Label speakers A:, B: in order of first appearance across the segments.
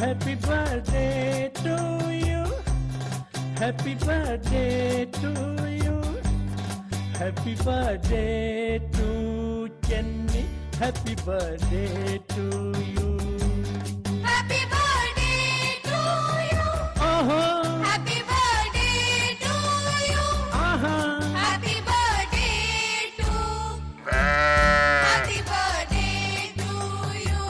A: Happy birthday to you. Happy birthday to you. Happy birthday to Jenny. Happy birthday to you.
B: Happy birthday to you.
A: Oh, ho,
B: Happy birthday to you.
A: aha.
B: Happy birthday to Happy birthday to you.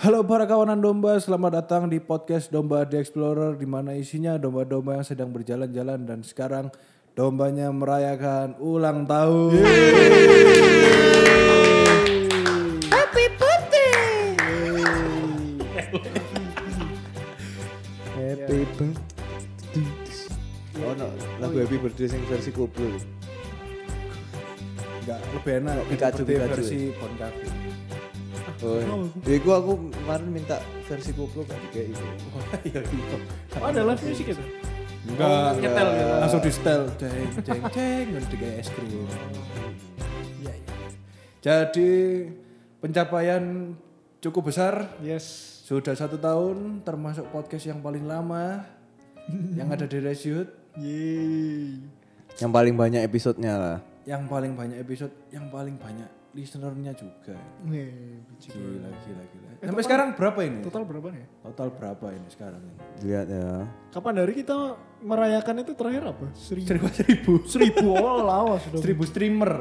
C: Halo para kawanan domba, selamat datang di podcast Domba The Explorer di mana isinya domba-domba yang sedang berjalan-jalan dan sekarang dombanya merayakan ulang tahun. Happy birthday.
D: Happy birthday. Oh Ah, no, lagu Happy Birthday sing versi koplo.
C: Enggak lebih enak
D: Pikachu,
C: seperti
D: Pikachu.
C: versi Bon Jovi.
D: Oh, ya gua aku kemarin minta versi koplo gak dikei. iya,
A: Oh, ada live music itu.
C: Enggak,
A: nyetel gitu.
C: langsung di setel, Oh, ceng ceng ceng, nanti kayak es krim. Iya, iya. Jadi pencapaian cukup besar
A: Yes.
C: Sudah satu tahun, termasuk podcast yang paling lama yang ada di Resyut,
A: Yeay.
D: Yang paling banyak episodenya lah.
C: yang paling banyak episode, yang paling banyak listenernya juga. Gila, gila, gila. Sampai sekarang berapa ini?
E: Total berapa nih?
C: Eh, Total berapa ini sekarang? ini?
D: Lihat ya.
E: Kapan dari kita merayakan itu terakhir apa? Seribu.
C: Seribu, seribu,
E: Seribu oh lawas dong.
C: seribu streamer,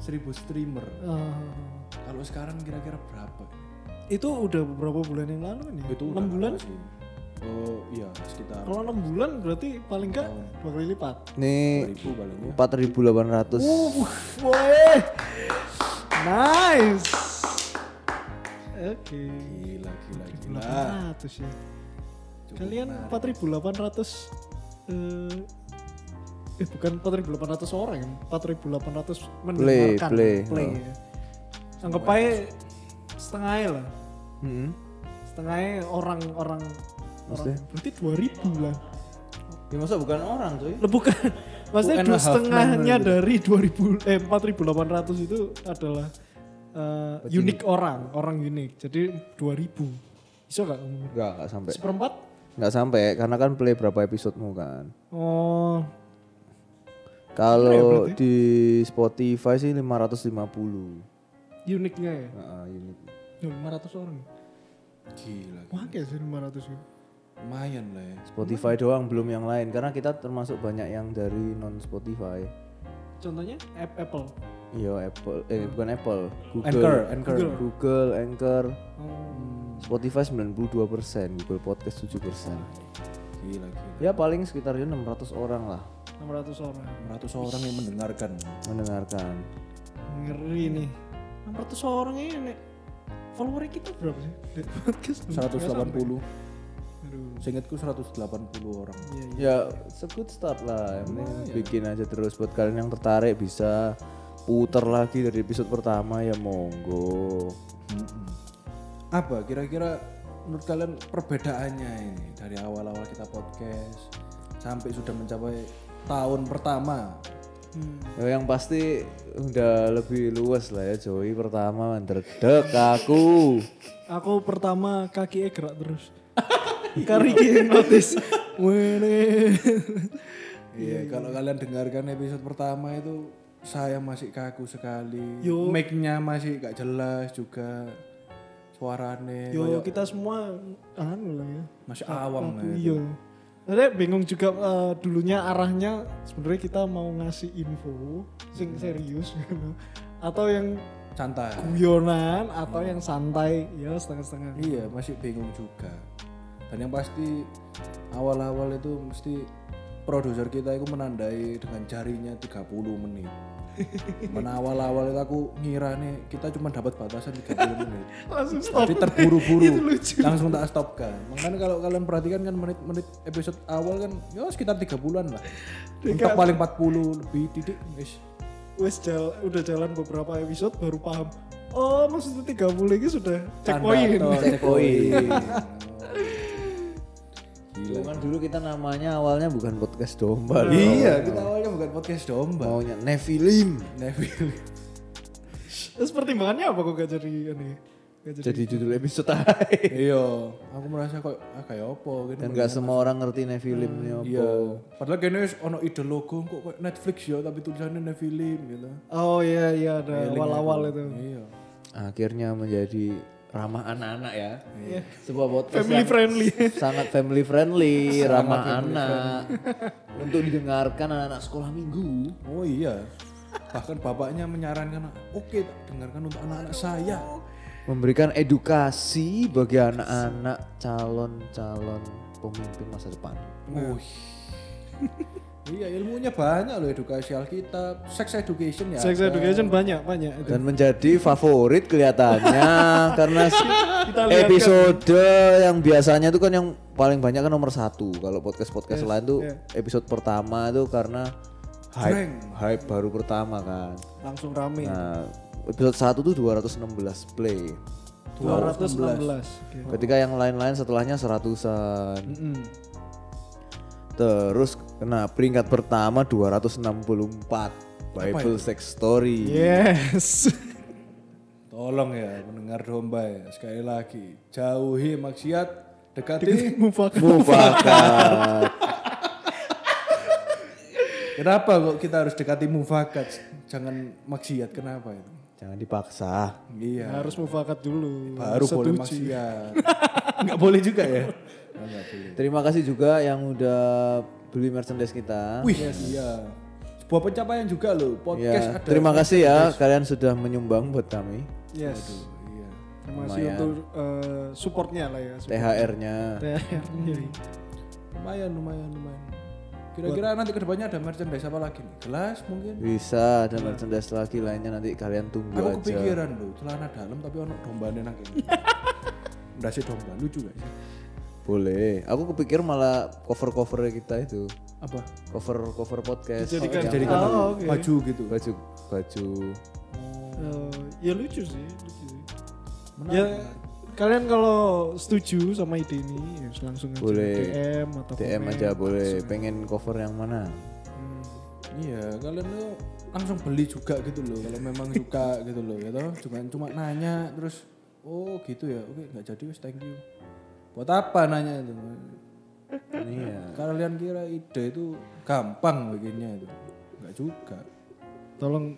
C: seribu streamer.
E: Ah,
C: Kalau sekarang kira-kira berapa?
E: itu udah beberapa bulan yang lalu nih?
C: Itu udah
E: 6 bulan?
C: lama sih. Oh iya, sekitar
E: Kalau 6 bulan berarti paling enggak dua kali lipat.
D: Ini
C: 1000 paling ya.
D: 4800.
E: Uh, woi. Nice. Oke.
C: Gila, gila, gila.
E: 800 ya. Kalian 4800 eh eh bukan 4800 orang, 4800 mendengarkan
D: play, oh.
E: ya. Anggap aja setengahnya lah.
D: Mm-mm.
E: Setengahnya orang-orang
D: Maksudnya?
E: orang, berarti 2000 lah.
D: Ya masa bukan orang tuh.
E: Lah bukan. Maksudnya
C: and
E: dua
C: a half
E: setengahnya
C: man,
E: dari 2000 eh 4800 itu adalah eh, unik orang, orang unik. Jadi 2000. Bisa gak?
D: Enggak, enggak sampai.
E: Seperempat?
D: Enggak sampai karena kan play berapa episodemu kan.
E: Oh,
D: Kalau di Spotify sih 550.
E: uniknya ya.
D: Heeh, unit.
E: Ya, 500 orang.
C: Gila,
E: Wah, kayak sih 500 ya.
C: lumayan lah ya.
D: Spotify doang belum yang lain karena kita termasuk banyak yang dari non Spotify.
E: Contohnya App- Apple.
D: Iya Apple, eh bukan Apple, Google,
C: Anchor, Anchor.
D: Google, Anchor,
E: Oh,
D: Spotify 92 Google Podcast 7
C: Gila, gila.
D: Ya paling sekitar 600 orang lah
E: 600 orang.
C: 100 orang yang mendengarkan.
D: mendengarkan.
E: Ngeri nih. 600 orang ini nek. Follower kita berapa sih? Dari podcast belum- nggak
C: 180.
E: sampai. Aduh.
C: Seingatku 180 orang.
E: Iya, iya.
D: Ya it's a good start lah, yang penting bikin aja terus buat kalian yang tertarik bisa putar lagi dari episode pertama ya monggo.
C: Apa kira-kira menurut kalian perbedaannya ini dari awal-awal kita podcast sampai sudah mencapai tahun pertama?
D: Ya, yang pasti udah lebih luas lah ya Joey pertama menderdek aku.
E: Aku pertama kaki eh, gerak terus. Kariki notice. Wene.
C: Iya, kalau kalian dengarkan episode pertama itu saya masih kaku sekali.
E: Yo.
C: Mic-nya masih gak jelas juga. Suarane
E: Yo
C: kayak eh,
E: kita semua anu lah ya.
C: masih awam lah itu.
E: Iya. Saya bingung juga eh, dulunya arahnya sebenarnya kita mau ngasih info
C: Hmm.
E: sing serius gitu. atau yang
C: Santai.
E: guyonan atau yang santai ya setengah-setengah.
C: Iya masih bingung juga. Dan yang pasti awal-awal itu mesti produser kita itu menandai dengan jarinya 30 menit. Mana awal-awal itu aku ngira nih kita cuma dapat batasan 30 menit.
E: Langsung stop.
C: Jadi terburu-buru
E: Itu lucu.
C: langsung tak stopkan. Makanya kalau kalian perhatikan kan menit-menit episode awal kan ya sekitar 30-an lah. Untuk paling 40 lebih titik wis.
E: Wes jal- udah jalan beberapa episode baru paham. Oh, maksudnya 30 ini sudah checkpoint.
C: Standar, toh, Checkpoint. Gila.
D: Cuman dulu kita namanya awalnya bukan podcast domba. loh.
C: Iya, kita awalnya bukan podcast domba.
D: Maunya Nevilim.
C: Neville.
E: Terus pertimbangannya apa kok gak jadi ini? Nggak
D: jadi judul episode aja.
C: iya aku merasa kok ah kayak apa gitu
D: kan nggak semua orang ngerti nih film ini apa
C: iya padahal kayaknya wis ono ide logo kok kayak Netflix ya tapi tulisannya nih film gitu
E: Oh iya iya ada awal-awal itu.
C: iya
D: akhirnya menjadi ramah anak-anak ya sebuah podcast
E: Family
D: yang
E: friendly.
D: sangat family friendly ramah anak untuk didengarkan anak-anak sekolah minggu
C: oh iya bahkan bapaknya menyarankan oke tak dengarkan untuk anak-anak saya
D: memberikan edukasi bagi anak-anak calon-calon pemimpin masa depan
C: Wih. iya ilmunya banyak loh edukasi Alkitab sex education ya
E: Sex
C: ada.
E: education banyak banyak. itu.
D: dan menjadi favorit kelihatannya karena s-
E: Kita lihat kan.
D: episode yang biasanya itu kan yang paling banyak kan nomor satu kalau podcast podcast lain tuh episode pertama itu karena hype hype baru pertama kan
E: Langsung rame.
D: nah episode satu tuh 216 play
E: 216. Oke.
D: ketika yang lain-lain setelahnya seratusan terus kena peringkat pertama 264 Bible Sex Story
E: Iya. Yes.
C: Tolong ya mendengar domba ya sekali lagi jauhi maksiat dekati
E: Mufakat.
D: Mufakat.
C: kenapa kok kita harus dekati mufakat jangan maksiat kenapa itu
D: Jangan dipaksa.
C: iya
E: Ya, Harus mufakat dulu.
C: baru boleh
E: Setuju.
C: maksiat nggak boleh juga ya Oh, nggak boleh
D: Terima kasih juga yang udah beli merchandise kita.
C: wih iya sebuah pencapaian juga loh podcast
D: Ya,
C: ada
D: terima kasih ya kalian sudah menyumbang buat kami
E: Yes.
C: iya.
E: Terima kasih untuk eh, supportnya lah ya. Iya,
D: THR-nya.
C: lumayan lumayan lumayan kira-kira nanti kedepannya ada merchandise apa lagi nih gelas mungkin
D: Bisa ada merchandise lagi lainnya nanti kalian tunggu
C: aku
D: aja.
C: kepikiran loh celana dalam tapi ono dombanya nang kene udah sih domba lucu gak sih
D: Boleh. Aku kepikir malah cover-cover kita itu.
C: apa
D: Cover-cover podcast.
E: Dijadikan-
D: yang
C: jadi kan
E: Oh, oke.
C: baju gitu
D: baju baju
E: Eh, ya lucu sih, lucu sih. Ya kalian kalau setuju sama ide ini ya langsung aja
D: Boleh.
E: DM atau
D: DM
E: komen.
D: aja boleh. Pengen cover yang mana?
C: iya kalian tuh langsung beli juga gitu loh kalau memang suka gitu loh ya toh cuma cuma nanya terus oh gitu ya oke nggak jadi wes thank you buat apa nanya itu
D: Iya.
C: kalian kira ide itu gampang bikinnya itu nggak juga
E: Tolong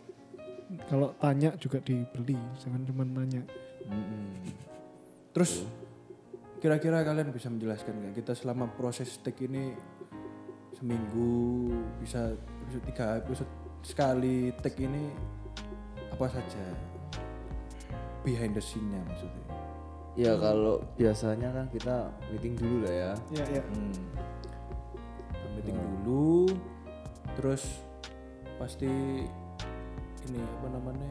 E: kalau tanya juga dibeli, jangan cuma nanya.
C: Mm-mm. Terus kira-kira kalian bisa menjelaskan nggak kita selama proses take ini seminggu bisa episode tiga episode sekali take ini apa saja behind the scene-nya maksudnya.
D: Ya kalau biasanya kan kita meeting dulu lah ya.
E: Ya ya.
C: Hmm. Kita Meeting dulu, terus pasti ini apa namanya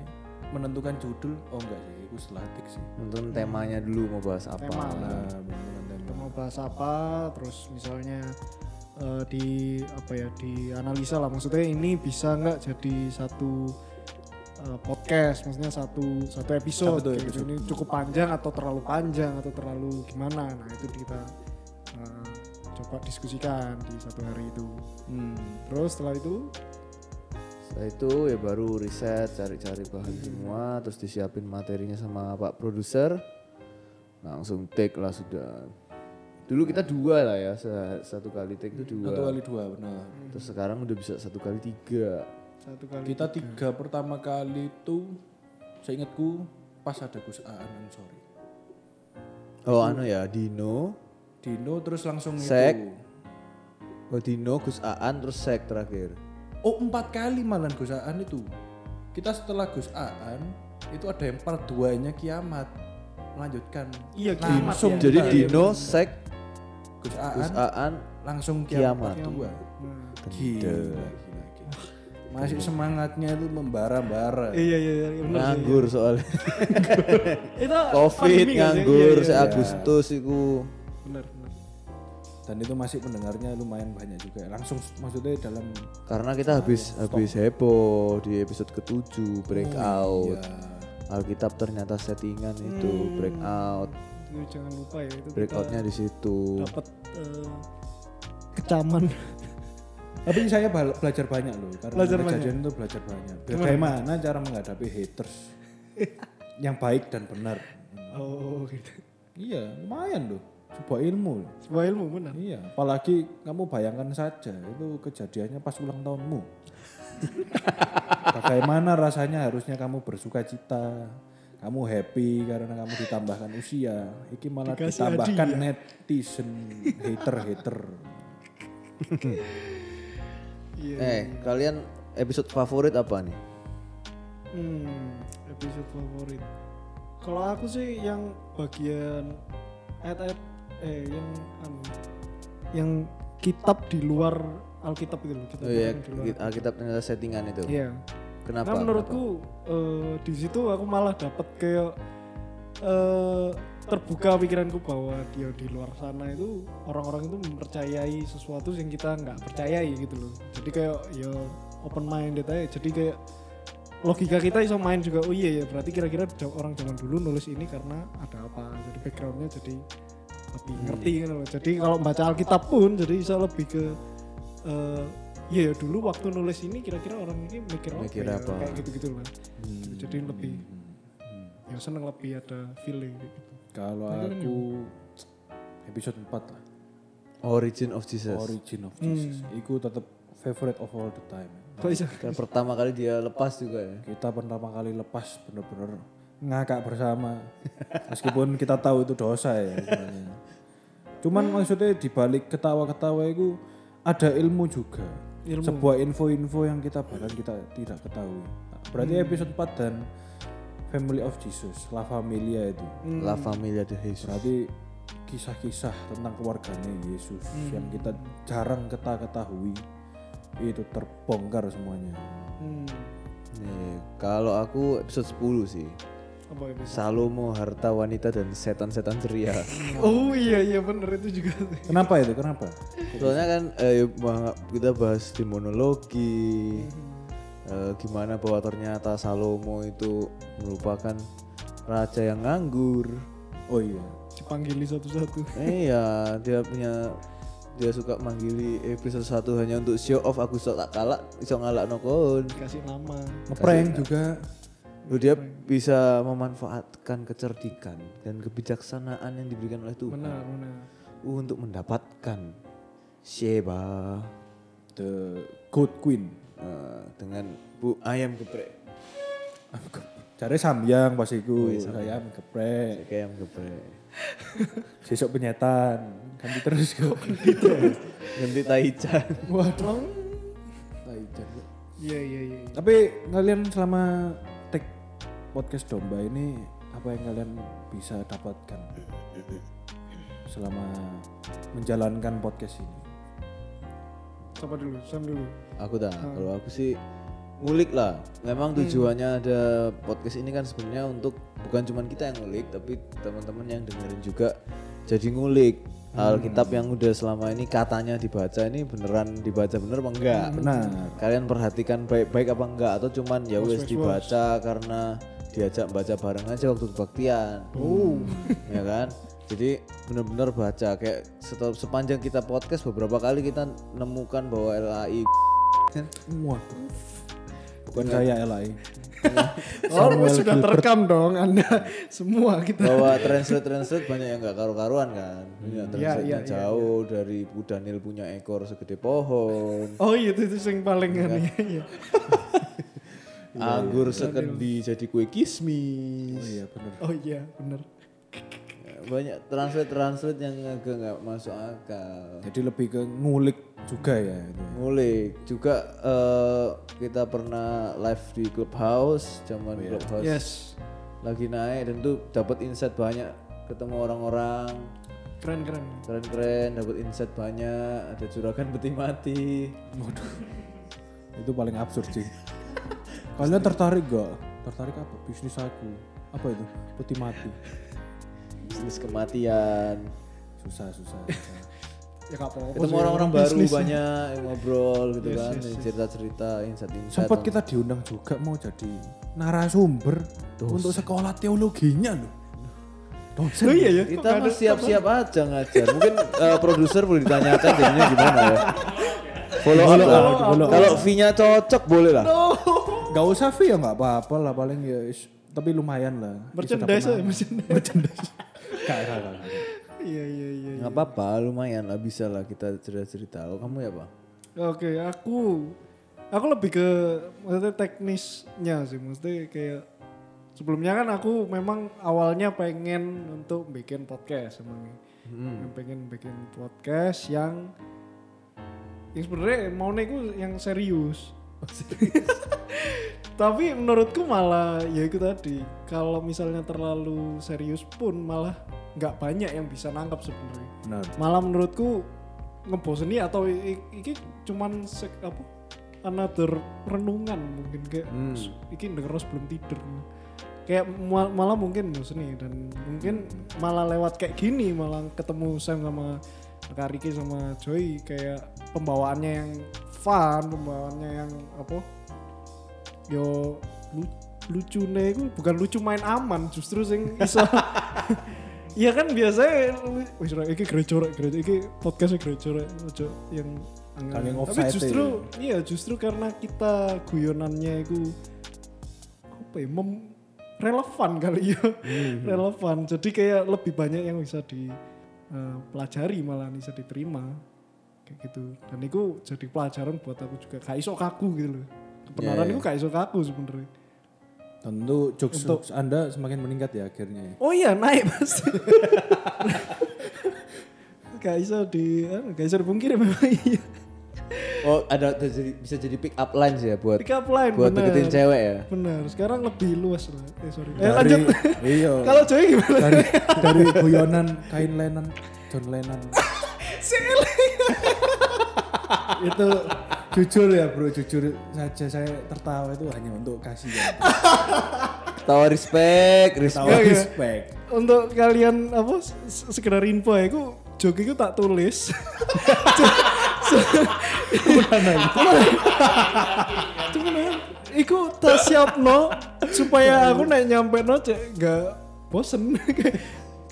C: menentukan judul oh enggak sih itu setelah take sih
D: Nonton temanya dulu mau bahas apa.
E: Tema.
C: nah, menentukan tema.
E: Kita mau bahas apa, terus misalnya eh, di apa ya dianalisa lah maksudnya ini bisa nggak jadi satu eh, podcast maksudnya satu satu episode,
C: Satu
E: kayak gitu.
C: episode.
E: ini cukup panjang atau terlalu panjang atau terlalu gimana nah itu kita eh, coba diskusikan di satu hari itu
C: Hmm.
E: terus setelah itu
D: Setelah itu ya baru riset, cari-cari bahan semua, terus disiapin materinya sama Pak produser. Langsung take lah sudah. Dulu kita dua lah ya, se- satu kali take itu
C: satu
D: dua.
C: kali dua benar
D: Terus sekarang udah bisa satu kali tiga.
E: satu kali
C: Kita tiga pertama kali itu seingatku pas ada Gus Aan I'm sorry.
D: Oh anu ya, Dino.
C: Dino terus langsung
D: Sek.
C: itu.
D: Oh Dino, Gus Aan, terus Sek terakhir.
C: Oh empat kali malah Gus Aan itu. Kita setelah Gus Aan itu ada yang part 2 nya kiamat melanjutkan
E: Iya,
C: Nah,
E: kiamat
C: langsung
E: ya.
D: Jadi
C: kita
D: Dino, Sek,
C: Gus
D: Gus
C: Aan
D: Aan,
C: langsung kiamat,
D: Kiamat.
C: part dua.
E: Nah,
C: Gila, gila, gila. masih semangatnya itu membara-bara
E: iya iya iya benar sih.
D: nganggur soalnya.
E: itu
D: Covid,
E: pandemi nggak sih?
D: nganggur,
E: Iya, iya,
D: se Agustus itu.
E: benar benar
C: dan itu masih pendengarnya lumayan banyak juga langsung maksudnya dalam
D: Karena kita habis habis heboh di episode ketujuh breakout.
E: Hmm, iya.
D: Alkitab ternyata settingan itu breakout.
E: itu jangan lupa ya itu
D: Breakoutnya di situ.
E: dapat eh, kecaman
C: Tapi saya bal- belajar banyak loh karena
E: Belajar
C: kejadian itu belajar banyak. Bagaimana cara menghadapi haters yang baik dan benar.
E: Oh gitu.
C: Iya, lumayan loh. Sebuah ilmu. loh.
E: Sebuah ilmu benar.
C: Iya, apalagi kamu bayangkan saja itu kejadiannya pas ulang tahunmu. Bagaimana rasanya harusnya kamu bersuka cita, kamu happy karena kamu ditambahkan usia. Iki malah
E: Dikasih
C: ditambahkan
E: hadiah.
C: netizen, hater-hater.
E: Iya.
D: Eh, kalian episode favorit apa nih?
E: Hmm, episode favorit. Kalau aku sih yang bagian at at eh yang anu, yang kitab di luar Alkitab itu loh. Kitab
D: Oh iya,
E: yang di luar.
D: Alkitab ternyata settingan itu.
E: Iya.
D: Kenapa?
E: Karena menurutku eh, di situ aku malah dapat kayak eh, terbuka pikiranku bahwa dia di luar sana itu orang-orang itu mempercayai sesuatu yang kita nggak percayai gitu loh. Jadi kayak ya open minded aja. Jadi kayak logika kita iso main juga. Oh iya ya berarti kira-kira ja- orang zaman dulu nulis ini karena ada apa. Jadi backgroundnya jadi lebih
D: Hmm.
E: ngerti gitu loh. Jadi kalau baca Alkitab pun jadi bisa lebih ke eh, Iya ya dulu waktu nulis ini kira-kira orang ini mikir apa,
D: Mikir
E: ya?
D: apa?
E: kayak gitu-gitu lah. Jadi lebih ya seneng lebih ada feeling kayak gitu.
C: Kalau aku episode 4 lah.
D: Origin of Jesus.
C: Origin of Jesus. Iku tetap favorite of all the time.
E: Kok bisa?
D: Kan pertama kali dia lepas juga ya.
C: Kita pertama kali lepas bener-bener ngakak bersama. Meskipun kita tahu itu dosa ya sebenarnya. Cuman maksudnya dibalik ketawa-ketawa itu ada ilmu juga. Sebuah info-info yang kita bahkan kita tidak ketahui. Berarti episode 4 dan Family of Jesus, La Familia itu.
E: Hmm.
D: La Familia de Jesus.
C: Berarti kisah-kisah tentang keluarganya Yesus yang kita jarang kita ketahui itu terbongkar semuanya.
E: Hmm.
D: Nih, kalau aku episode 10 sih.
E: Apa ya bisa?
D: Salomo, harta wanita dan setan-setan ceria.
E: Oh iya iya bener itu juga sih.
C: Kenapa itu? Kenapa?
D: Soalnya kan eh, bang- kita bahas demonologi. eh, gimana bahwa ternyata Salomo itu merupakan raja yang nganggur.
C: Oh iya.
E: Dipanggili satu-satu.
D: Eh, Iya, dia punya dia suka manggili episode satu hanya untuk show off aku iso tak kalah iso ngalak nokon.
E: Kasih nama.
C: Ngeprank juga.
D: Lu dia bisa memanfaatkan kecerdikan dan kebijaksanaan yang diberikan oleh Tuhan
E: Benar benar.
D: untuk mendapatkan Sheba
C: The Good Queen.
D: eh, dengan Bu Ayam Geprek.
C: Cari samyang pas iku. Saya ngeprek.
D: Kayak Ayam Geprek.
C: Sesok penyetan. Ganti terus kok.
D: Ganti Taichan.
E: Waduh.
C: Tai jago.
E: Iya iya iya. iya.
C: Tapi kalian selama take podcast domba ini apa yang kalian bisa dapatkan selama menjalankan podcast ini?
E: Coba dulu, Sam dulu.
D: Aku tak, kalau aku sih ngulik lah. Memang tujuannya ada podcast ini kan sebenarnya untuk bukan cuman kita yang ngulik, tapi teman-teman yang dengerin juga jadi ngulik. Alkitab yang udah selama ini katanya dibaca ini beneran dibaca bener apa enggak?
C: Benar.
D: Kalian perhatikan baik-baik apa enggak atau cuman ya wes dibaca karena diajak baca bareng aja waktu kebaktian. Oh. ya kan? Jadi bener-bener baca kayak setel- sepanjang kita podcast beberapa kali kita nemukan bahwa LAI kan?
C: Waduh. Bukan
E: Iya.
C: saya LAI.
E: Oh, sudah terekam dong Anda semua kita.
D: bahwa translate translate banyak yang nggak karu-karuan kan banyak translate yang jauh dari Bu Daniel punya ekor segede pohon
E: Oh iya itu, itu yang paling aneh. Iya.
D: anggur sekendi jadi kue kismis
C: Iya benar.
E: Oh iya bener.
D: banyak translate translate yang agak nggak masuk akal
C: Jadi lebih ke ngulik juga ya itu.
D: ngulik juga eh, kita pernah live di clubhouse zaman clubhouse
E: Yes.
D: lagi naik dan tuh dapat insight banyak ketemu orang-orang
E: Keren keren.
D: keren-keren dapat insight banyak ada juragan peti mati
C: Waduh. Itu paling absurd sih. Kalian tertarik gak? Tertarik apa? Bisnis aku. Apa itu? Peti mati.
D: bisnis kematian
C: Susah, susah. susah.
E: Ya nggak apa-apa.
D: ketemu
E: sih,
D: orang-orang
E: orang
D: baru
E: bisnis.
D: banyak yang ngobrol gitu kan cerita-cerita insight insight
C: Sempat kita diundang juga mau jadi narasumber untuk sekolah teologinya loh. Dosen.
E: Oh iya ya.
D: kita mah siap-siap aja ngajar mungkin eh, produser boleh ditanyakan jadinya gimana ya follow up lah. kalau fee-nya cocok boleh lah
C: Gak usah fee ya nggak apa-apa lah paling ya is- tapi lumayan lah.
E: merchandise aja, merchandise.
C: Gak, gak, gak, gak.
E: Iya iya iya.
D: Nggak apa-apa, lumayan lah bisa lah kita cerita-cerita. Oh, kamu ya pak?
E: Oke, aku aku lebih ke maksudnya teknisnya sih, maksudnya kayak sebelumnya kan aku memang awalnya pengen untuk bikin podcast emang. Pengen bikin podcast yang yang sebenarnya mau aku yang serius. Tapi menurutku malah ya itu tadi kalau misalnya terlalu serius pun malah nggak banyak yang bisa nangkap sebenarnya
C: Benar.
E: malah menurutku ngeboseni atau i- i- iki cuman sek, apa another renungan mungkin kayak "S- iki denger sebelum tidur kayak ma- malah mungkin boseni dan mungkin malah lewat kayak gini malah ketemu Sam sama Kak Riki sama Joy kayak pembawaannya yang fun pembawaannya yang apa yo lu- lucune itu bukan lucu main aman justru sing iso Iya kan biasanya lu- wis rek iki gerejo rek gerejo iki podcast gerejo rek ojo yang
C: Kalian
E: Tapi
C: offside
E: justru iya justru karena kita guyonannya itu apa ya mem- relevan kali ya.
D: Hmm.
E: relevan. Jadi kayak lebih banyak yang bisa dipelajari malah bisa diterima kayak gitu. Dan itu jadi pelajaran buat aku juga gak iso kaku gitu loh. Kebenaran
D: Ya, ya.
E: itu gak iso kaku sebenarnya.
C: Tentu jokes jokes Anda semakin meningkat ya akhirnya.
E: Oh iya naik pasti. gak iso di, anu, gak iso dipungkiri memang iya.
D: Oh ada jadi, bisa jadi pick up lines ya buat
E: Pick up line
D: buat
E: bener.
D: deketin cewek ya.
E: Bener, sekarang lebih luas lah. Eh sorry. Eh
C: Dari-
E: lanjut.
C: Iya.
E: Kalau Joy gimana?
C: dari dari guyonan kain lenan John Lennon
E: Sele.
C: itu jujur ya bro jujur saja saya tertawa itu hanya untuk ya, kasihan
D: Tawa respect, respect.
C: tawa
E: iya.
C: respect Eh,
E: Untuk kalian apa se- sekedar info ya, aku joki ku tak tulis. Cuman iku tak siap no supaya aku naik nyampe no cek gak bosen kayak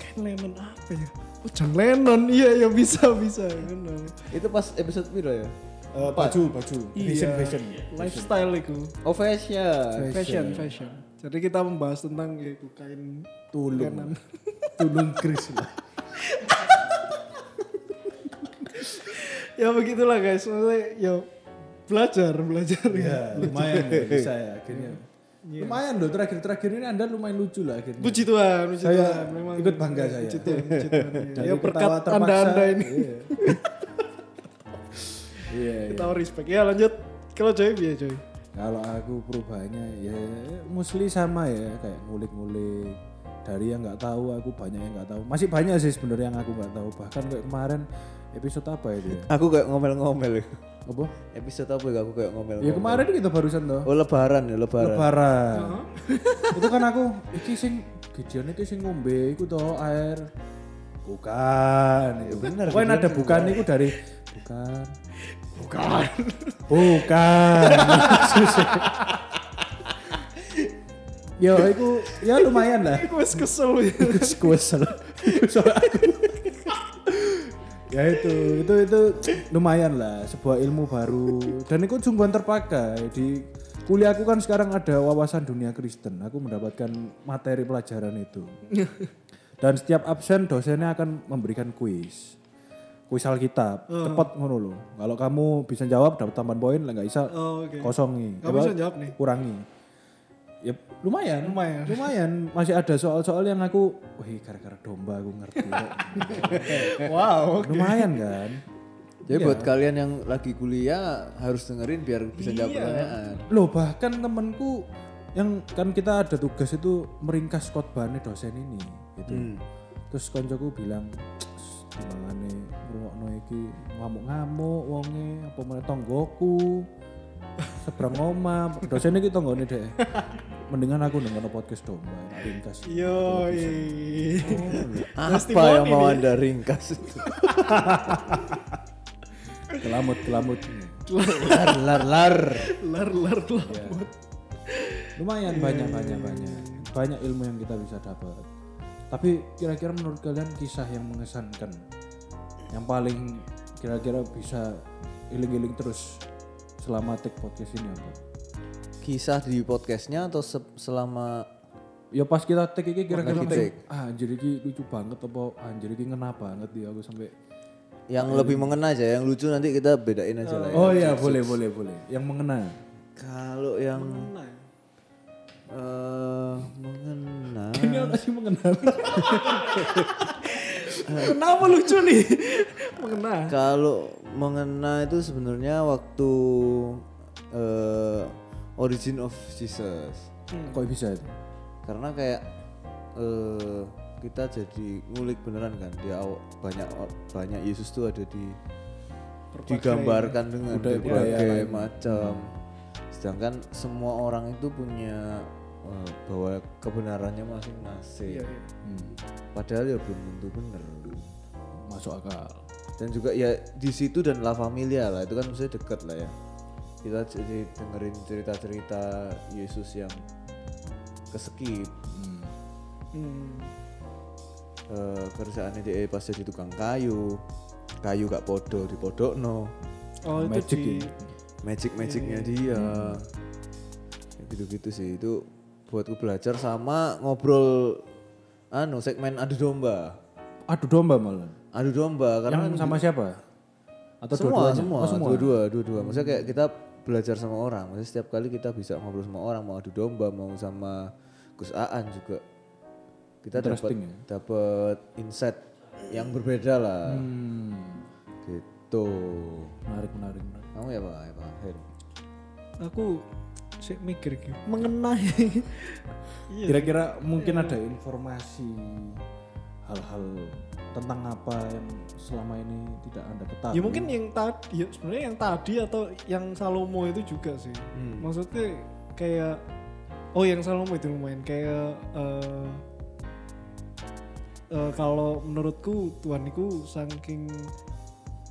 E: Ken Lennon apa ya? Oh John Lennon iya ya bisa bisa ngono.
D: Itu pas episode piro ya?
C: Eh, baju baju fashion
E: Iya,
C: fashion
E: lifestyle iku
D: Oh fashion.
E: fashion fashion. Jadi kita membahas tentang ya iku kain
C: tulung
E: Lennon.
C: tulung Chris lah
E: ya begitulah guys maksudnya ya belajar belajar ya.
C: ya lumayan ya, bisa ya akhirnya lumayan loh terakhir terakhir ini anda lumayan lucu lah akhirnya
E: Puji Tuhan, puji
C: Saya
E: Tuhan. Memang
C: ikut bangga saya.
E: Puji Tuhan, puji Tuhan. iya.
C: Dari
E: Ya berkat
C: ketawa terpaksa,
E: anda-anda ini.
C: iya. iya iya.
E: Kita respect. Ya lanjut. Kalau Joy biar Joy.
C: Kalau aku perubahannya ya mostly sama ya kayak ngulik-ngulik dari yang nggak tahu aku banyak yang nggak tahu masih banyak sih sebenarnya yang aku nggak tahu bahkan kayak kemarin episode apa itu ya
D: Aku kayak ngomel-ngomel. ya.
C: apa
D: Episode apa ya aku kayak ngomel.
C: ya kemarin kita barusan tuh
D: Oh lebaran ya lebaran.
C: lebaran itu kan aku iki sing Gideon itu sing ngombe iku toh air bukan itu bener pokoknya ada bukan itu dari bukan
E: Bukan.
C: Bukan. Yo, aku ya lumayan lah.
E: Aku wes kesel ya.
C: Squisel. ya itu, itu itu lumayan lah sebuah ilmu baru dan itu sungguhan terpakai di kuliahku kan sekarang ada wawasan dunia Kristen aku mendapatkan materi pelajaran itu dan setiap absen dosennya akan memberikan kuis kuis Alkitab
E: Oh.
C: cepat ngono loh kalau kamu bisa jawab dapat tambahan poin lah nggak bisa
E: Oh, oke.
C: kosongi
E: Kamu
C: Apa?
E: bisa jawab nih.
C: kurangi ya lumayan
E: Lumayan.
C: lumayan masih ada soal-soal yang aku wih gara-gara domba aku ngerti kok.
E: Wow.
C: lumayan kan
D: Jadi buat kalian yang lagi kuliah harus dengerin biar bisa jawab
C: Iya.
D: pertanyaan.
C: loh bahkan temenku yang kan kita ada tugas itu meringkas khotbahnya dosen ini gitu
E: Hmm.
C: terus koncoku bilang "Cs, gimana ngrungokno iki ngamuk-ngamuk wonge apa meneh tonggoku seberang oma dosen iki tonggone deh mendingan aku dengerin podcast domba tak ringkas Oh,
E: Yo.
D: Apa yang mau anda ringkas itu?
C: kelamut kelamut
D: lar lar lar.
E: Lar lar
C: Iya.
E: lar.
C: lumayan banyak banyak banyak banyak ilmu yang kita bisa dapat tapi kira-kira menurut kalian kisah yang mengesankan yang paling kira-kira bisa iling-iling terus selama take podcast ini apa
D: kisah di podcastnya atau se- selama
C: Ya pas kita take iki kira-kira
D: Lagi
C: langsung,
D: take.
C: ah anjir iki lucu banget apa anjir iki ngena banget ya aku sampai
D: yang lebih mengena aja, yang lucu nanti kita bedain aja lah ya.
C: Oh iya boleh boleh boleh. Yang mengena.
D: Kalau yang
A: Nah,
D: eh, mengena,
C: Ini orang sih mengena.
A: Kenapa lucu nih? Mengena.
D: kalau mengena itu sebenarnya waktu eh, Origin of Jesus.
C: Kok bisa itu?
D: karena kayak eh, kita jadi ngulik beneran kan dia aw- banyak or- banyak Yesus tuh ada di digambarkan dengan berbagai macam sedangkan semua orang itu punya eh, bahwa kebenarannya masing-masing Hmm. padahal ya belum tentu benar
C: Masuk akal.
D: dan juga ya di situ dan La Familia lah itu kan maksudnya dekat lah ya kita jadi dengerin cerita-cerita Yesus yang kesekip
E: Hmm.
D: eh kerjaannya dia pas jadi tukang kayu kayu gak podo di podok no
E: Oh itu
C: Magic
E: di
C: ya.
D: magic magicnya
C: Iya,
D: dia
C: Hmm.
D: gitu gitu sih itu buatku belajar sama ngobrol anu segmen adu domba
C: Aduh domba malah.
D: adu domba karena
C: Yang sama siapa? Atau
D: semua
C: dua-duanya?
D: semua
C: Oh, semua.
D: dua-dua dua-dua maksudnya kayak kita belajar sama orang maksudnya setiap kali kita bisa ngobrol sama orang mau adu domba mau sama Gus Aan juga kita dapat
C: Interesting ya.
D: dapat insight yang berbeda lah
C: Hmm.
D: gitu
C: Menarik menarik menarik.
D: kamu ya pak ya pak Her
E: aku sih mikir gitu mengenai Iya,
C: Kira-kira mungkin ada informasi hal-hal tentang apa yang selama ini tidak anda ketahui?
E: ya mungkin yang tadi ya sebenarnya yang tadi atau yang Salomo itu juga sih
C: Hmm.
E: maksudnya kayak oh yang Salomo itu lumayan kayak eh, eh, kalau menurutku Tuhan itu saking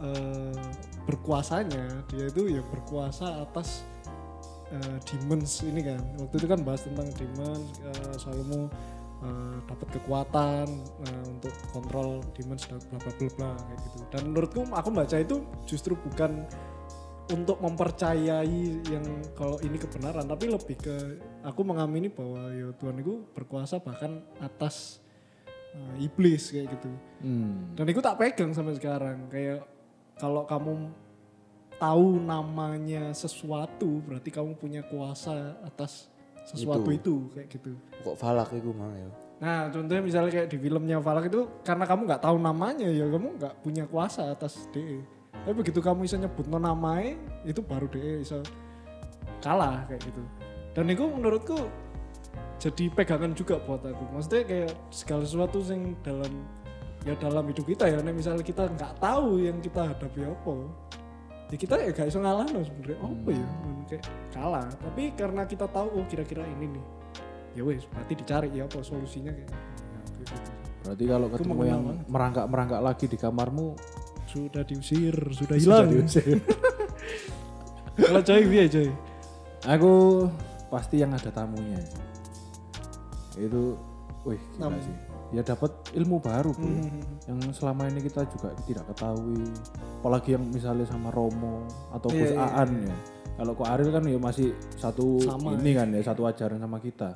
E: eh, berkuasanya dia itu ya berkuasa atas eh, demons ini kan waktu itu kan bahas tentang demons eh, Salomo eh, dapat kekuatan eh, untuk kontrol demons dan bla bla bla bla kayak gitu dan menurutku aku baca itu justru bukan untuk mempercayai yang kalau ini kebenaran tapi lebih ke aku mengamini bahwa ya Tuhan itu berkuasa bahkan atas eh, iblis kayak gitu
C: Hmm.
E: dan itu tak pegang sampai sekarang kayak kalau kamu tahu namanya sesuatu berarti kamu punya kuasa atas sesuatu itu, kayak gitu
D: kok falak itu mang ya
E: nah contohnya misalnya kayak di filmnya Falak itu karena kamu nggak tahu namanya ya kamu nggak punya kuasa atas DE tapi begitu kamu bisa nyebut namanya itu baru E, DE bisa kalah kayak gitu dan itu menurutku jadi pegangan juga buat aku maksudnya kayak segala sesuatu yang dalam ya dalam hidup kita ya nek misalnya kita nggak tahu yang kita hadapi apa ya kita ya gak bisa ngalah sebenarnya apa ya Men, kayak kalah tapi karena kita tahu oh kira-kira ini nih ya wes berarti dicari ya apa solusinya kayak Ya, kayak gitu.
C: Berarti kalau ketemu
E: mengenal
C: yang
E: banget.
C: merangkak-merangkak lagi di kamarmu
E: sudah diusir sudah hilang kalau coy biar coy
C: Aku pasti yang ada tamunya. Itu, wih gila sih. Ya dapat ilmu baru bro. yang selama ini kita juga tidak ketahui. Apalagi yang misalnya sama Romo atau Gus Aan ya. Kalau kok Ariel kan ya masih satu
E: Sama
C: ini kan ya satu ajaran sama kita.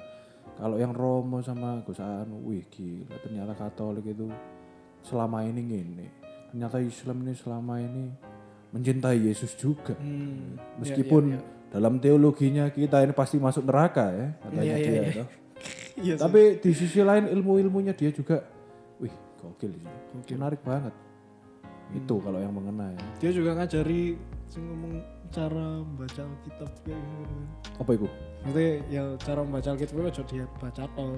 C: Kalau yang Romo sama Gus Aan, wih gila ternyata Katolik itu selama ini gini. Ternyata Islam ini selama ini mencintai Yesus juga. Meskipun dalam teologinya kita ini pasti masuk neraka ya katanya dia toh.
E: iya sih.
C: Tapi di sisi lain ilmu-ilmunya dia juga wih gokil sih. Menarik banget.
E: Hmm.
C: Itu kalau yang mengena ya.
E: dia juga ngajari sing ngomong cara membaca Alkitab kayak gitu
C: Apa itu?
E: Maksudnya ya cara membaca Alkitab itu aja dia baca tau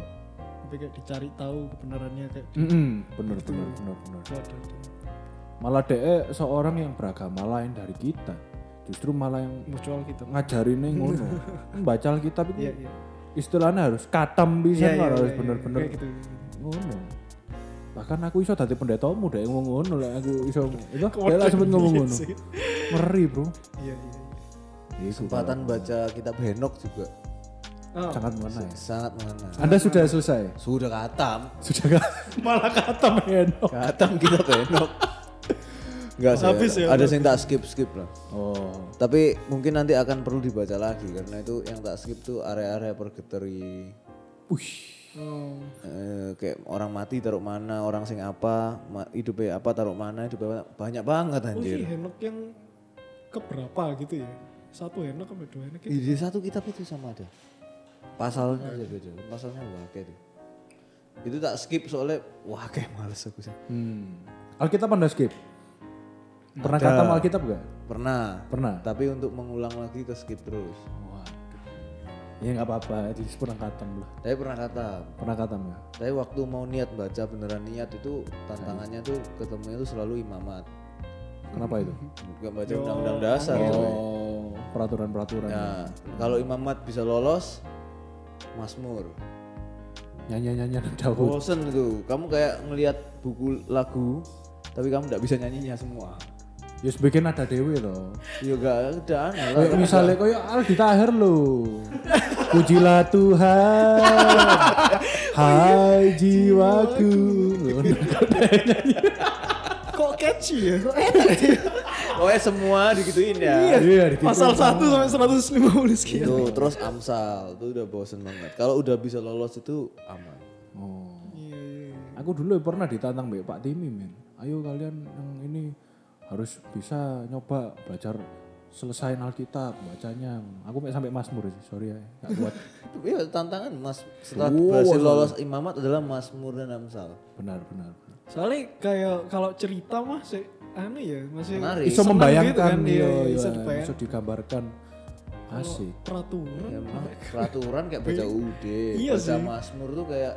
E: tapi kayak dicari tahu kebenarannya kayak di-
C: Mm-mm, bener, bener, bener, bener.
E: itu ada di-
C: Malah DE seorang yang beragama lain dari kita. Justru malah yang
E: muncul Alkitab Nah,
C: ngajarin nih ngono. Baca Alkitab
E: iya
C: itu
E: iya
C: istilahnya harus katam bisa
E: Iya, iya,
C: harus
E: iya,
C: bener-bener
E: kayak gitu
C: ngono bahkan aku iso dadi pendetamu dek ngomong ngono lah aku iso itu dek lah sempet ngomong ngono
E: iya sih.
C: ngeri bro
E: iya iya iya.
D: kesempatan baca kitab Henok juga
E: Oh,
C: sangat mengena ya
D: sangat mengena
C: anda sudah selesai
D: sudah katam
C: sudah gak malah kata mengeno
D: katam kitab Henok Enggak sih.
E: Habis ya,
D: ada yang tak skip-skip lah.
C: Oh.
D: Tapi mungkin nanti akan perlu dibaca lagi karena itu yang tak skip tuh area-area purgatory.
E: Oh,
D: Eh, kayak orang mati taruh mana, orang sing apa, ma- hidupnya apa taruh mana, hidupnya apa- banyak banget
E: Oh
D: anjir.
E: sih Henok yang keberapa gitu ya? Satu Henok sampai dua Henok gitu.
D: Ide satu kitab itu sama ada. Pasalnya aja beda. Pasalnya wah kayak itu. Itu tak skip soalnya wah kayak males aku sih.
C: Hmm. Alkitab anda skip? Pernah kata Alkitab gak?
D: Pernah.
C: Pernah.
D: Tapi untuk mengulang lagi ke skip terus.
C: Waduh. Ya nggak apa-apa, at least pernah katam lah.
D: Tapi pernah kata.
C: Pernah katam ya?
D: Tapi waktu mau niat baca beneran niat itu tantangannya tuh ketemunya tuh selalu imamat.
C: Kenapa itu?
D: Bukan baca undang-undang dasar. coy.
C: Oh, peraturan-peraturan.
D: Nah, kalau imamat bisa lolos, Masmur.
C: Nyanyi-nyanyi Daud.
D: Bosen itu. Kamu kayak ngelihat buku lagu, tapi kamu nggak bisa nyanyinya semua.
C: Ya bikin ada dewe loh.
D: Ya gak ada aneh lah.
C: Kayak misalnya kayak Aldi Tahir lo. Pujilah Tuhan. Hai jiwaku. Loh,
E: Kok catchy ya?
D: Pokoknya semua digituin ya.
C: Iya, dikit.
E: Pasal 1 sampai 150 sekian.
D: Itu terus Amsal, itu udah bosen banget. Kalau udah bisa lolos itu aman.
C: Oh.
E: Iya, iya.
C: Aku dulu ya pernah ditantang Mbak Pak Timi men. Ayo kalian yang ini harus bisa nyoba belajar selesain Alkitab bacanya. Aku mek sampai Mazmur sih, sorry ya. Gak kuat.
D: Itu ya tantangan Mas setelah
C: Wow,
D: berhasil lolos imamat adalah Mazmur dan Amsal.
C: benar, benar. benar.
E: Soalnya kayak kalau cerita mah sih anu ya masih
D: Menarik.
C: Iso
E: seneng
C: membayangkan
E: gitu kan,
C: iya,
E: iya,
C: iya,
E: iso
C: iso
E: dibayang.
C: digambarkan. Asik. Iya,
E: peraturan.
D: Ya, emang peraturan kayak baca UD,
E: Iya sih.
D: baca Mazmur tuh kayak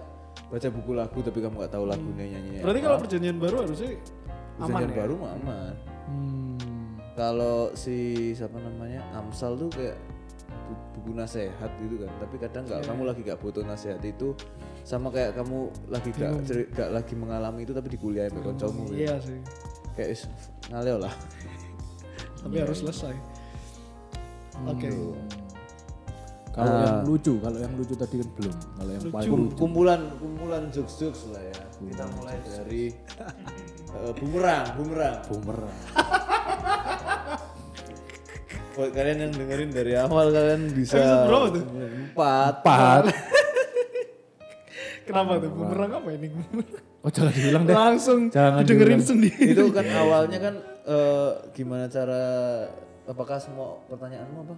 D: baca buku lagu tapi kamu gak tahu lagunya nyanyinya.
E: Hmm.
C: iya.
E: Berarti kalau perjanjian baru harusnya aman
D: Perjanjian
E: ya?
D: baru mah aman.
C: Hmm.
D: Kalau si siapa namanya Amsal tuh kayak bu- buku nasehat gitu kan, tapi kadang
E: Iya.
D: nggak kamu lagi gak butuh nasehat itu sama kayak kamu lagi gak, ceri- gak lagi mengalami itu tapi dikuliahin sama kancamu gitu.
E: Iya sih.
D: Kayak is, ngaleo lah.
E: Tapi
C: Iya
E: harus
C: kan?
E: selesai.
C: Hmm.
E: Oke.
C: Kalau yang
E: Ah.
C: lucu, kalau yang lucu tadi kan belum. Kalau yang paling
D: Kum- kumpulan kumpulan jokes jokes lah ya. Kita
E: Hmm.
D: mulai dari eh, bumerang, bumerang.
C: bumerang.
D: Buat kalian yang dengerin dari awal kalian bisa
E: Episode berapa tuh?
D: empat.
C: Pat.
E: Kenapa tuh bumerang apa ini?
C: Oh jangan diulang deh.
E: Langsung
C: Jangan
E: dengerin
C: diulang.
E: sendiri.
D: itu kan awalnya kan eh, gimana cara apakah semua pertanyaanmu apa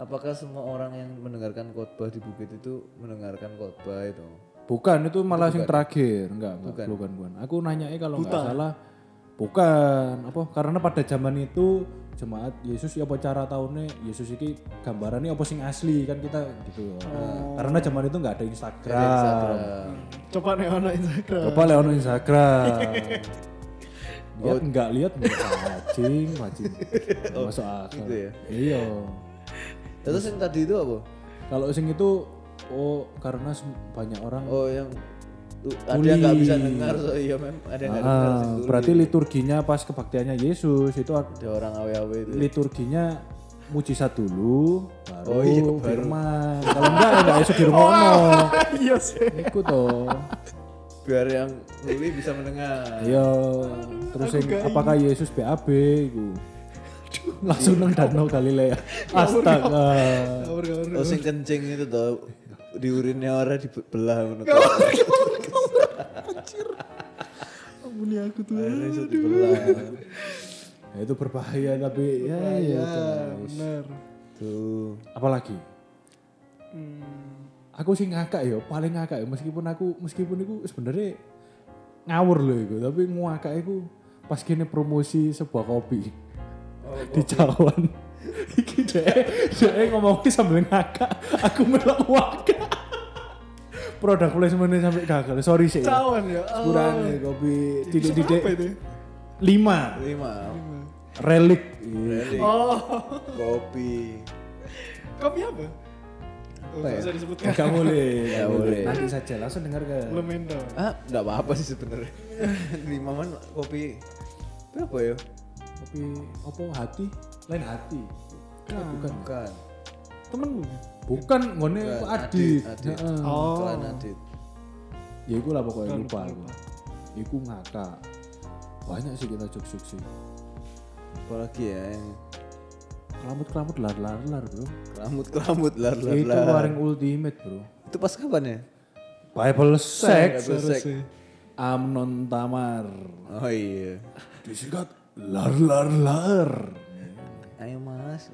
D: apakah semua orang yang mendengarkan khotbah di bukit itu mendengarkan khotbah itu
C: Bukan itu malah yang terakhir, enggak, enggak bukan. bukan Aku nanya kalau nggak salah bukan apa karena pada zaman itu jemaat Yesus ya apa cara tahunnya Yesus ini gambarannya apa sing asli kan kita gitu loh. Karena zaman itu nggak ada Instagram.
E: Coba nih ono Instagram.
C: Coba lihat ono Instagram. Lihat enggak lihat macing, macing. Masuk akal.
D: gitu ya?
C: Iya.
D: terus yang tadi itu apa
C: Kalau sing itu oh karena sem- banyak orang
D: oh yang tuh, ada yang nggak bisa dengar so iya mem ada yang ya. nggak dengar
C: Ah,
D: sing tuli.
C: berarti liturginya pas kebaktiannya Yesus itu ak-
D: ada orang awe-awe itu
C: liturginya mujizat dulu baru
D: Oh iya, Oh, baru.
C: firman. Kalau enggak ya enggak esok di rumah ono.
E: Iya sih.
C: Iku toh.
D: biar yang tuli bisa mendengar
C: Iya, terus yang apakah Yesus BAB iku. Langsung nang danau
D: Ya
C: Galilea. Astaga.
E: Kabar-kabar.
D: oh sing kencing itu tuh diurinnya orang dibelah ngono
E: Ampuni Oh, aku tuh.
D: Akhirnya iso dibelah
C: Ya, itu berbahaya tapi ya ya. guys.
E: Bener.
D: tuh
C: Apalagi?
E: Hmm.
C: Aku sih ngakak ya, paling ngakak ya. Meskipun aku, meskipun aku sebenarnya ngawur loh itu, tapi ngakak aku pas kini promosi sebuah kopi
E: Oh,
C: di cawan. Iki deh, deh ngomongnya sambil ngakak, aku melok ngakak. Produk placementnya sampai gagal, sorry sih.
E: Cawan ya.
C: Sepurane kopi
E: Titik-titik.
C: titik-titik lima
D: lima
C: relik.
D: Relik,
E: Oh.
D: kopi
E: Kopi apa? Oh,
C: ya?
E: nggak usah disebutkan.
C: Gak boleh,
D: Nggak
C: gak boleh.
D: boleh.
C: Nanti saja langsung dengarkan.
E: Belum endo.
D: ah nggak apa apa sih sebenarnya lima man kopi berapa ya
C: Kopi apa hati? Lain hati.
D: Ah.
C: Eh, bukan.
D: bukan
E: Temenmu kan?
C: Bukan ngone
D: Bukan,
C: adit.
D: Oh, adit, Ah. adit.
C: Heeh.
E: Oh.
D: iklan adit
C: Ya iku lah pokoknya
E: Bukan, lupa,
C: lupa aku.
E: lupa.
C: Iku ngakak. Banyak sih kita jokes-jokes sih.
D: apalagi ya yang
C: Kelamut kelamut lar lar lar bro. Ya
D: kelamut kelamut lar lar
C: Itu
D: lar.
C: paling ultimate bro.
D: Itu pas kapan ya?
C: Bible
D: Sex,
C: sex. Amnon Tamar.
D: Oh iya.
C: Disingkat lar lar lar.
D: Ayo mas.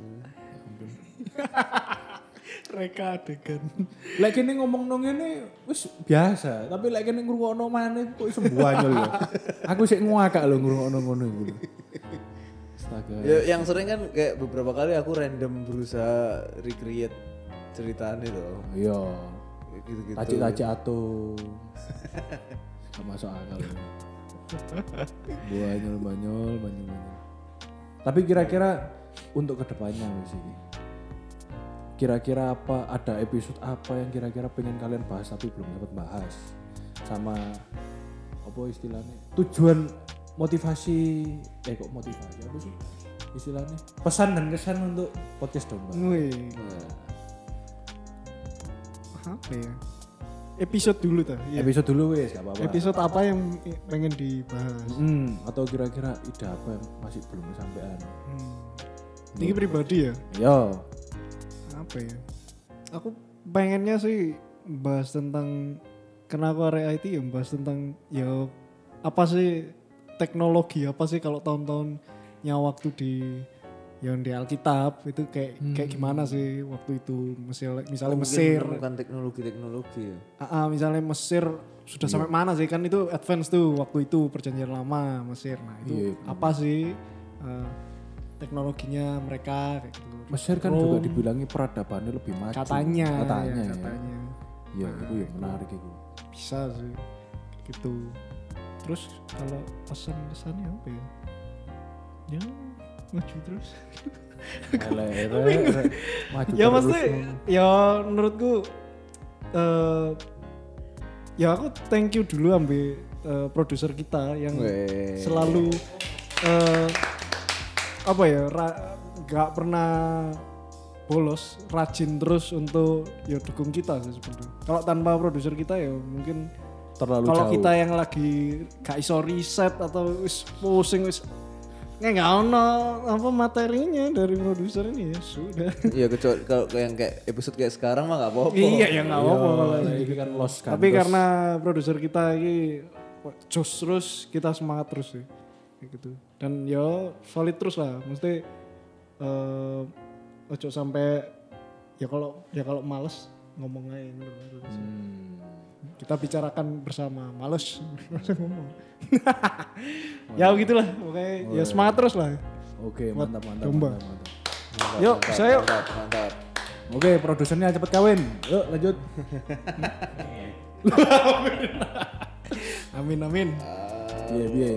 A: Reka adegan.
C: Lagi ini ngomong nong ini wis biasa, tapi lagi ini ngurungono mana kok sembuhannya loh. Aku sih nguakak loh ngurungono ngono itu. Astaga.
D: Ya, yang sering kan kayak beberapa kali aku random berusaha recreate ceritanya loh.
C: Iya.
E: gitu.
D: Gitu-gitu.
C: Taci-taci atau Gak masuk akal. Banyol banyol banyol banyol. Tapi kira-kira untuk kedepannya Mas ini. Kira-kira apa ada episode apa yang kira-kira pengen kalian bahas tapi belum dapat bahas sama apa istilahnya tujuan motivasi eh kok motivasi apa sih istilahnya pesan dan kesan untuk podcast domba
E: Wih.
C: Nah.
E: Apa ya? Episode dulu tuh. Iya.
C: episode dulu wes gak apa-apa
E: Episode apa yang i- pengen dibahas?
C: Hmm, atau kira-kira ide apa yang masih belum kesampaian?
E: Hmm. Ini pribadi ya?
C: Yo,
E: Apa ya? Aku pengennya sih bahas tentang kenapa area IT ya bahas tentang ya apa sih teknologi apa sih kalau tahun-tahunnya waktu di yang di Alkitab itu kayak kayak gimana sih waktu itu misalnya misalnya Mesir
D: bukan teknologi-teknologi ya.
E: Ah, ah, misalnya Mesir sudah sampai
C: Iya.
E: mana sih kan itu advance tuh waktu itu perjanjian lama Mesir. Nah itu
C: Iya,
E: apa sih eh, teknologinya mereka kayak gitu.
C: Mesir kan juga dibilangi peradabannya lebih maju.
E: katanya,
C: katanya,
E: ya,
C: ya.
E: katanya
C: Iya, itu yang menarik itu.
E: bisa sih gitu. Terus kalau pesan pesannya apa ya? Ya maju terus.
C: Lere, maju
E: ya
C: terus.
E: pasti ya menurutku eh ya aku thank you dulu ambil eh, produser kita yang
D: Weh.
E: selalu eh, apa ya ra- nggak pernah bolos rajin terus untuk ya dukung kita sih sebenarnya kalau tanpa produser kita ya mungkin
C: terlalu
E: kalau
C: jauh.
E: kita yang lagi gak iso riset atau wis pusing wis nggak nggak ono apa materinya dari produser ini ya sudah
D: Iya kecuali kalau kayak- yang kayak episode kayak sekarang mah nggak apa-apa.
E: iya ya nggak apa-apa kalau
C: Iya,
E: gitu.
C: ini kan lost kan.
E: tapi
C: terus.
E: karena produser kita ini wah, jos terus kita semangat terus sih Kayak gitu dan yo solid terus lah mesti eh ojo sampai ya kalau ya kalau males ngomong aja gitu. kita bicarakan bersama males males ngomong ya gitulah pokoknya ya semangat terus lah
C: Oke, mantap, mantap,
E: domba.
C: mantap, mantap.
D: Mantap,
E: Yuk,
D: mantap,
E: saya yuk.
D: Mantap, mantap.
C: Oke, produsernya cepet kawin. Yuk, lanjut.
E: amin amin
C: Iya, iya.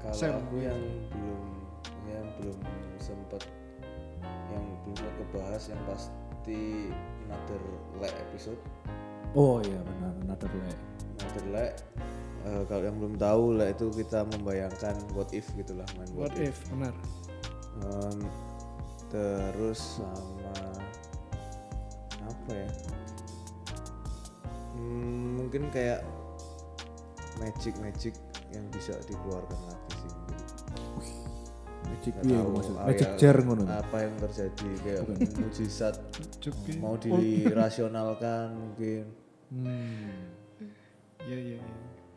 D: Kalau
E: Sam.
D: aku yang belum yang belum sempat yang belum sempat kebahas yang pasti another like episode
C: Oh iya benar, another layer.
D: another like eh, kalau yang belum tahu lah itu kita membayangkan what if gitulah main what,
E: what if
D: if,
E: benar
D: Em, terus sama apa ya Hmm, mungkin kayak magic magic yang bisa dikeluarkan lagi sih mungkin.
C: Magic
D: Nggak
C: piye
D: tahu
C: Iya, maksud?
D: apa
C: Magic
D: yang-
C: jar ngono.
D: apa yang terjadi kayak mujizat
E: Cukup.
D: mau
C: Oh, iya.
D: dirasionalkan mungkin
C: Hmm.
E: ya ya ya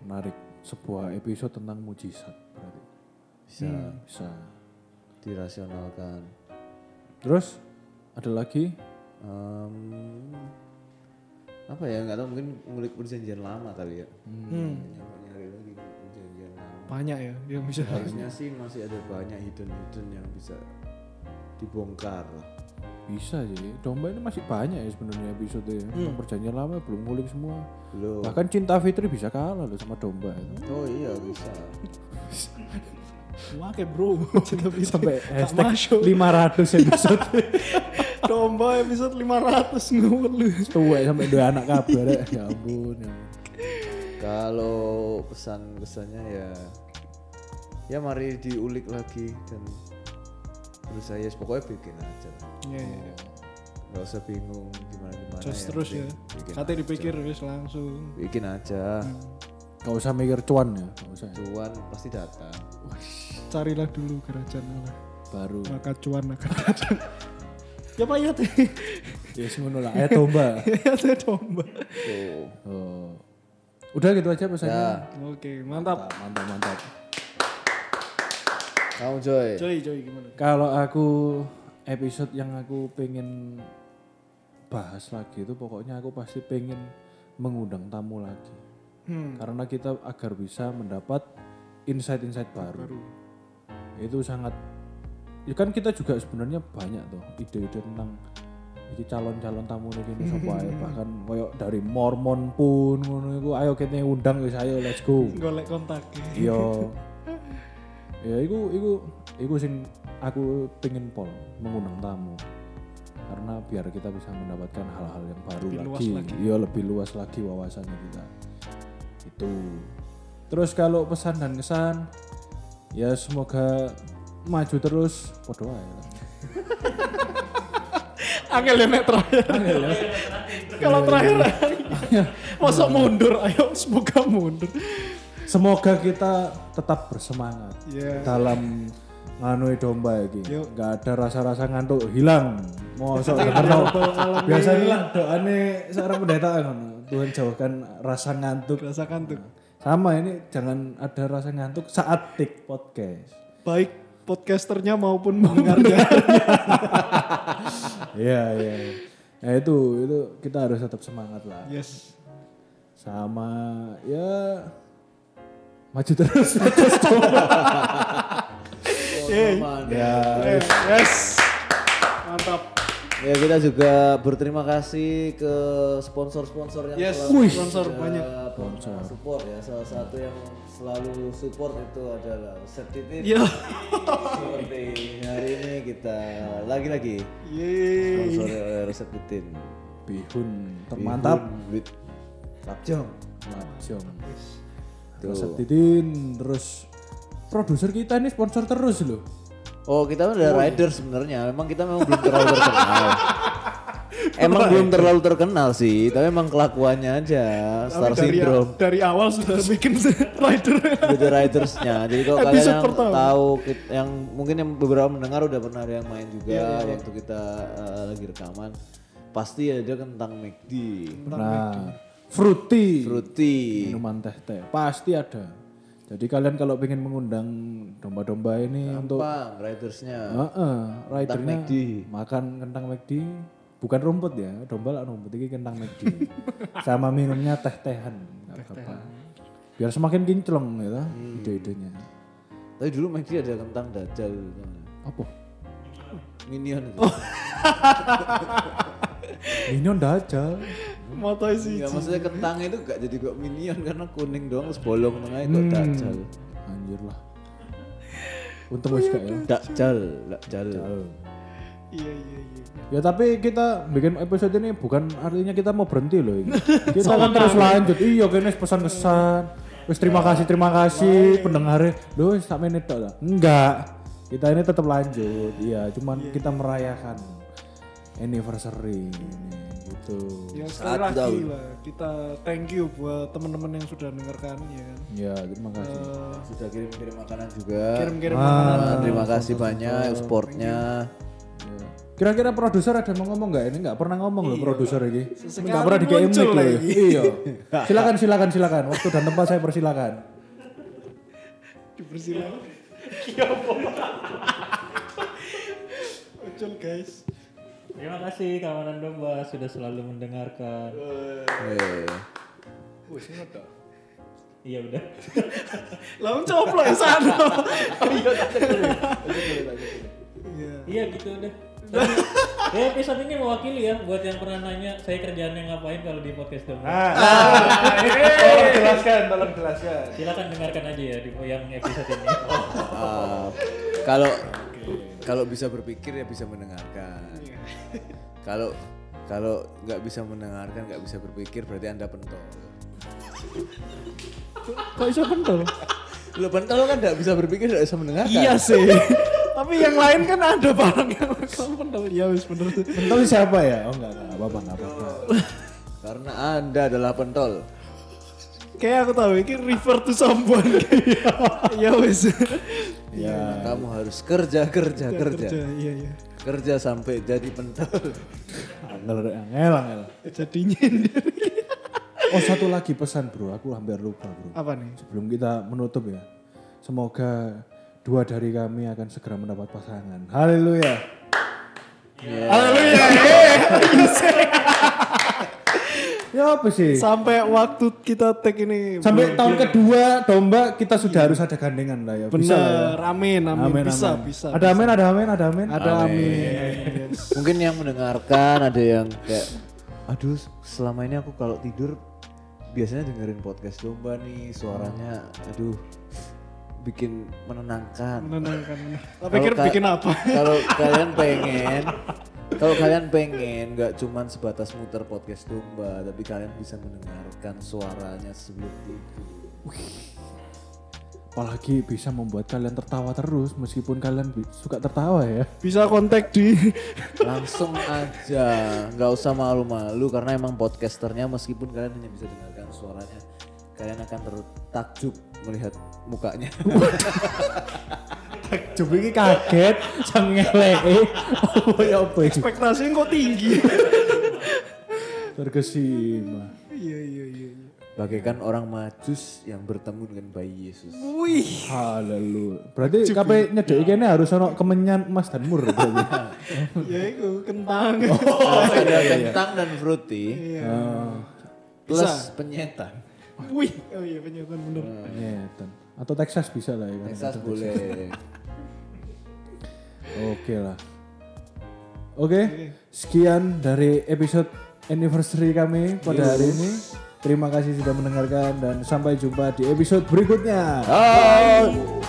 C: menarik sebuah episode tentang mujizat berarti
D: bisa
E: Hmm.
C: bisa
D: dirasionalkan
C: terus ada lagi
D: Em, apa ya nggak tahu mungkin ngulik perjanjian lama kali ya
E: Hmm.
D: nyari lagi perjanjian lama
E: banyak ya yang bisa
D: harusnya sih masih ada banyak hidden hidden yang bisa dibongkar lah
C: bisa sih domba ini masih banyak ya sebenarnya episode ya Tentang perjanjian lama belum ngulik semua
D: belum
C: bahkan cinta Fitri bisa kalah loh sama domba itu
D: oh iya bisa
E: Wah kayak bro, cinta bisa
C: sampai hashtag
E: masuk.
C: 500 episode
E: Domba episode 500 ngomong lu.
C: tua ya, sampai dua anak kabar ya Ya ampun ya ampun.
D: kalau pesan pesannya ya ya mari diulik lagi dan berusaha ya pokoknya bikin aja lah.
E: Iya iya. iya.
D: nggak usah bingung gimana gimana
E: Jos terus ya. Katanya dipikir wis langsung.
D: bikin aja
C: Gak usah mikir cuan ya gak usah
D: tuan pasti datang
E: Carilah dulu kerajaan Allah.
C: baru.
E: maka cuan akan datang. ya Pak Yot,
C: Ya yes, ngono lah, ayat domba.
E: ya saya domba.
D: Tuh.
C: Oh. Udah gitu aja pesannya.
E: Oke, mantap.
C: Mantap, mantap, mantap.
D: Kamu Joy.
E: Joy, Joy gimana?
C: Kalau aku episode yang aku pengen bahas lagi itu pokoknya aku pasti pengen mengundang tamu lagi.
E: Hmm,
C: Karena kita agar bisa mendapat insight-insight baru.
E: baru.
C: Itu sangat ya kan kita juga sebenarnya banyak tuh ide-ide tentang iki calon-calon tamu nih gini sapa ae. bahkan koyo dari Mormon pun ngono iku ayo kita undang wis ayo let's go.
E: Golek kontak.
C: Iya. ya iku iku iku sing aku pengen pol mengundang tamu. Karena biar kita bisa mendapatkan hal-hal yang baru
E: Lebih luas
C: lagi.
E: lagi.
C: Iya, lebih luas lagi wawasannya kita. Itu. Gitu. Terus kalau pesan dan kesan ya semoga maju terus Waduh, ae.
E: Angel ya nek terakhir.
C: Iya,
E: Kalau terakhir, masuk mundur, ayo semoga mundur.
C: Semoga kita tetap bersemangat
E: Iya.
C: dalam nganui domba iki.
E: Yuk. Iya,
C: Nggak ada rasa-rasa ngantuk hilang. Mosok ya, karena
E: mengalami-
C: biasanya lah doane seorang pendeta kan Tuhan jauhkan rasa ngantuk.
E: Rasakan tuh.
C: Sama ini jangan ada rasa ngantuk saat tik podcast.
E: Baik podcasternya maupun pendengarnya.
C: Iya iya. Ya itu itu kita harus tetap semangat lah.
E: Yes.
C: Sama ya maju terus.
E: Yeay.
D: Ya.
E: Eh, Yes. Mantap.
D: Ya kita juga berterima kasih ke sponsor-sponsor yang
E: Yes,
D: selalu
E: Wih. sponsor
D: sudah
E: banyak.
D: pernah support ya. Salah satu yang selalu support itu adalah Septitit.
E: Yo.
D: Seperti hari ini kita lagi-lagi
E: Yeay.
D: sponsor oleh Resep Titin.
C: Bihun termantap.
D: Bihun with Lapjong.
C: Lapjong. Terus Titin, terus produser kita ini sponsor terus loh.
D: Oh kita udah rider sebenarnya. Memang kita memang belum terlalu terkenal. emang belum terlalu terkenal sih, tapi emang kelakuannya aja star
E: dari,
D: syndrome.
E: dari awal sudah bikin rider.
D: Good Ridersnya. Jadi kalau kalian
E: Episode
D: yang
E: pertama.
D: tahu, kit- yang mungkin yang beberapa mendengar udah pernah ada yang main juga
E: Iya,
D: waktu kita eh, lagi rekaman, pasti ada tentang McD,
C: Nah, fruity,
D: Fruity.
C: minuman teh teh pasti ada. Jadi kalian kalau pengen mengundang domba-domba ini untuk
D: Pang, Ridersnya.
C: Heeh, ridernya
D: McD.
C: makan kentang McD bukan rumput ya, domba lah rumput ini kentang McD. Sama minumnya teh-tehan. nggak apa-apa. Biar semakin kinclong gitu ide-idenya.
D: Tapi dulu McD ada kentang dajal,
C: Apa?
D: minion
E: Oh,
D: itu.
E: iya,
C: Minion dajal.
E: Mata sih.
D: Enggak, Iya, maksudnya kentang itu gak jadi kok minion karena kuning doang, terus bolong tengahnya kok
E: Hmm.
D: dajal.
C: Anjir lah. Untung wis gak ya.
D: Dajal, dajal.
E: Iya iya iya.
C: Ya tapi kita bikin episode ini bukan artinya kita mau berhenti loh ini. Kita akan terus lanjut. Iya kene pesan kesan. Wis terima kasih terima
E: iya,
C: kasih pendengarnya. Loh wis sak menit tok lah. Enggak. Kita ini tetap lanjut. Iya, cuman kita merayakan anniversary ini gitu.
E: Ya sekali
D: Satu
E: lagi
D: tahun.
E: lah kita thank you buat teman-teman yang sudah mendengarkan ya kan.
C: Ya, terima kasih.
E: Eh,
D: Sudah kirim-kirim makanan juga.
E: Kirim-kirim
D: Ah, terima kasih banyak ekspornya.
C: Ya. Kira-kira produser ada mau ngomong nggak? Ini nggak pernah ngomong loh produser ini.
E: Sesekali
C: Nggak pernah di mic
E: Iya. muncul
C: loh.
E: lagi.
C: Iya. Silakan silakan silakan. Waktu dan tempat saya persilakan.
E: dipersilakan. Ucul guys.
A: Terima kasih kawanan domba sudah selalu mendengarkan.
D: Eh.
A: Iya udah.
E: Lah coplok ya sana. Iya.
A: Iya gitu udah. Tapi, ya, episode ini mewakili ya buat yang pernah nanya saya kerjaannya ngapain kalau di podcast domba.
C: tolong jelaskan, tolong jelaskan.
A: Silakan dengarkan aja ya di yang episode ini.
D: Ah, kalau kalau bisa berpikir ya bisa mendengarkan. Kalau kalau nggak bisa mendengarkan nggak bisa berpikir berarti anda pentol.
E: Kok bisa pentol?
D: Lo pentol kan nggak bisa berpikir nggak bisa mendengarkan.
E: Iya sih. Tapi yang lain kan ada barang yang kamu pentol. Iya wis bener sih.
C: Entah siapa ya? Oh enggak, enggak apa-apa, enggak apa-apa.
D: Karena anda adalah pentol.
E: Kayak aku tahu ini refer to someone. ya wes.
C: Ya, kamu harus kerja, kerja, kerja. Kerja,
E: Iya iya.
C: sampai jadi pentol.
E: Angel angel angel. Jadinya sendiri.
C: Oh, satu lagi pesan, Bro. Aku hampir lupa, Bro.
E: apa nih?
C: Sebelum kita menutup ya. Semoga dua dari kami akan segera mendapat pasangan. Haleluya.
E: Haleluya.
C: Ya apa sih?
E: Sampai waktu kita tag ini.
C: Sampai tahun
E: Iya.
C: kedua domba kita sudah harus ada gandengan lah ya. Bisa lah ya.
E: Bener, amin, amin, bisa,
C: amin.
E: bisa. Iya,
C: Ada amin, ada amin, ada amin.
E: ada amin.
D: Mungkin yang mendengarkan ada yang kayak aduh selama ini aku kalau tidur biasanya dengerin podcast domba nih suaranya aduh bikin menenangkan.
E: Menenangkan. Lah
D: Kalau
E: pikir
D: ka-
E: bikin apa?
D: Kalau kalian pengen kalau kalian pengen nggak cuman sebatas muter podcast domba tapi kalian bisa mendengarkan suaranya sebelum tidur.
C: Apalagi bisa membuat kalian tertawa terus meskipun kalian bi- suka tertawa ya.
E: Bisa kontak di
D: langsung aja nggak usah malu-malu karena emang podcasternya meskipun kalian hanya bisa dengarkan suaranya kalian akan tertakjub melihat mukanya
C: Coba ini kaget, sang ngelei. Apa ya apa ini?
E: ekspektasinya kok tinggi.
C: Tergesima.
E: Iya iya iya. iya.
D: bagaikan orang majus yang bertemu dengan bayi Yesus
E: Wih,
C: Haleluya. Berarti kabeh nyedeki kene harus ono kemenyan Mas dan Mur. berarti.
E: ya itu kentang.
C: Oh.
E: Oh,
D: Harus ada kentang dan fruity
E: Iya.
D: plus
E: Bisa.
D: penyetan
E: Wih, oh iya penyetan bener.
C: Nyetan. Atau Texas bisa lah ya kan.
D: Texas boleh
C: Oke lah. Oke, sekian dari episode anniversary kami pada hari ini. Terima kasih sudah mendengarkan dan sampai jumpa di episode berikutnya.
D: Hai.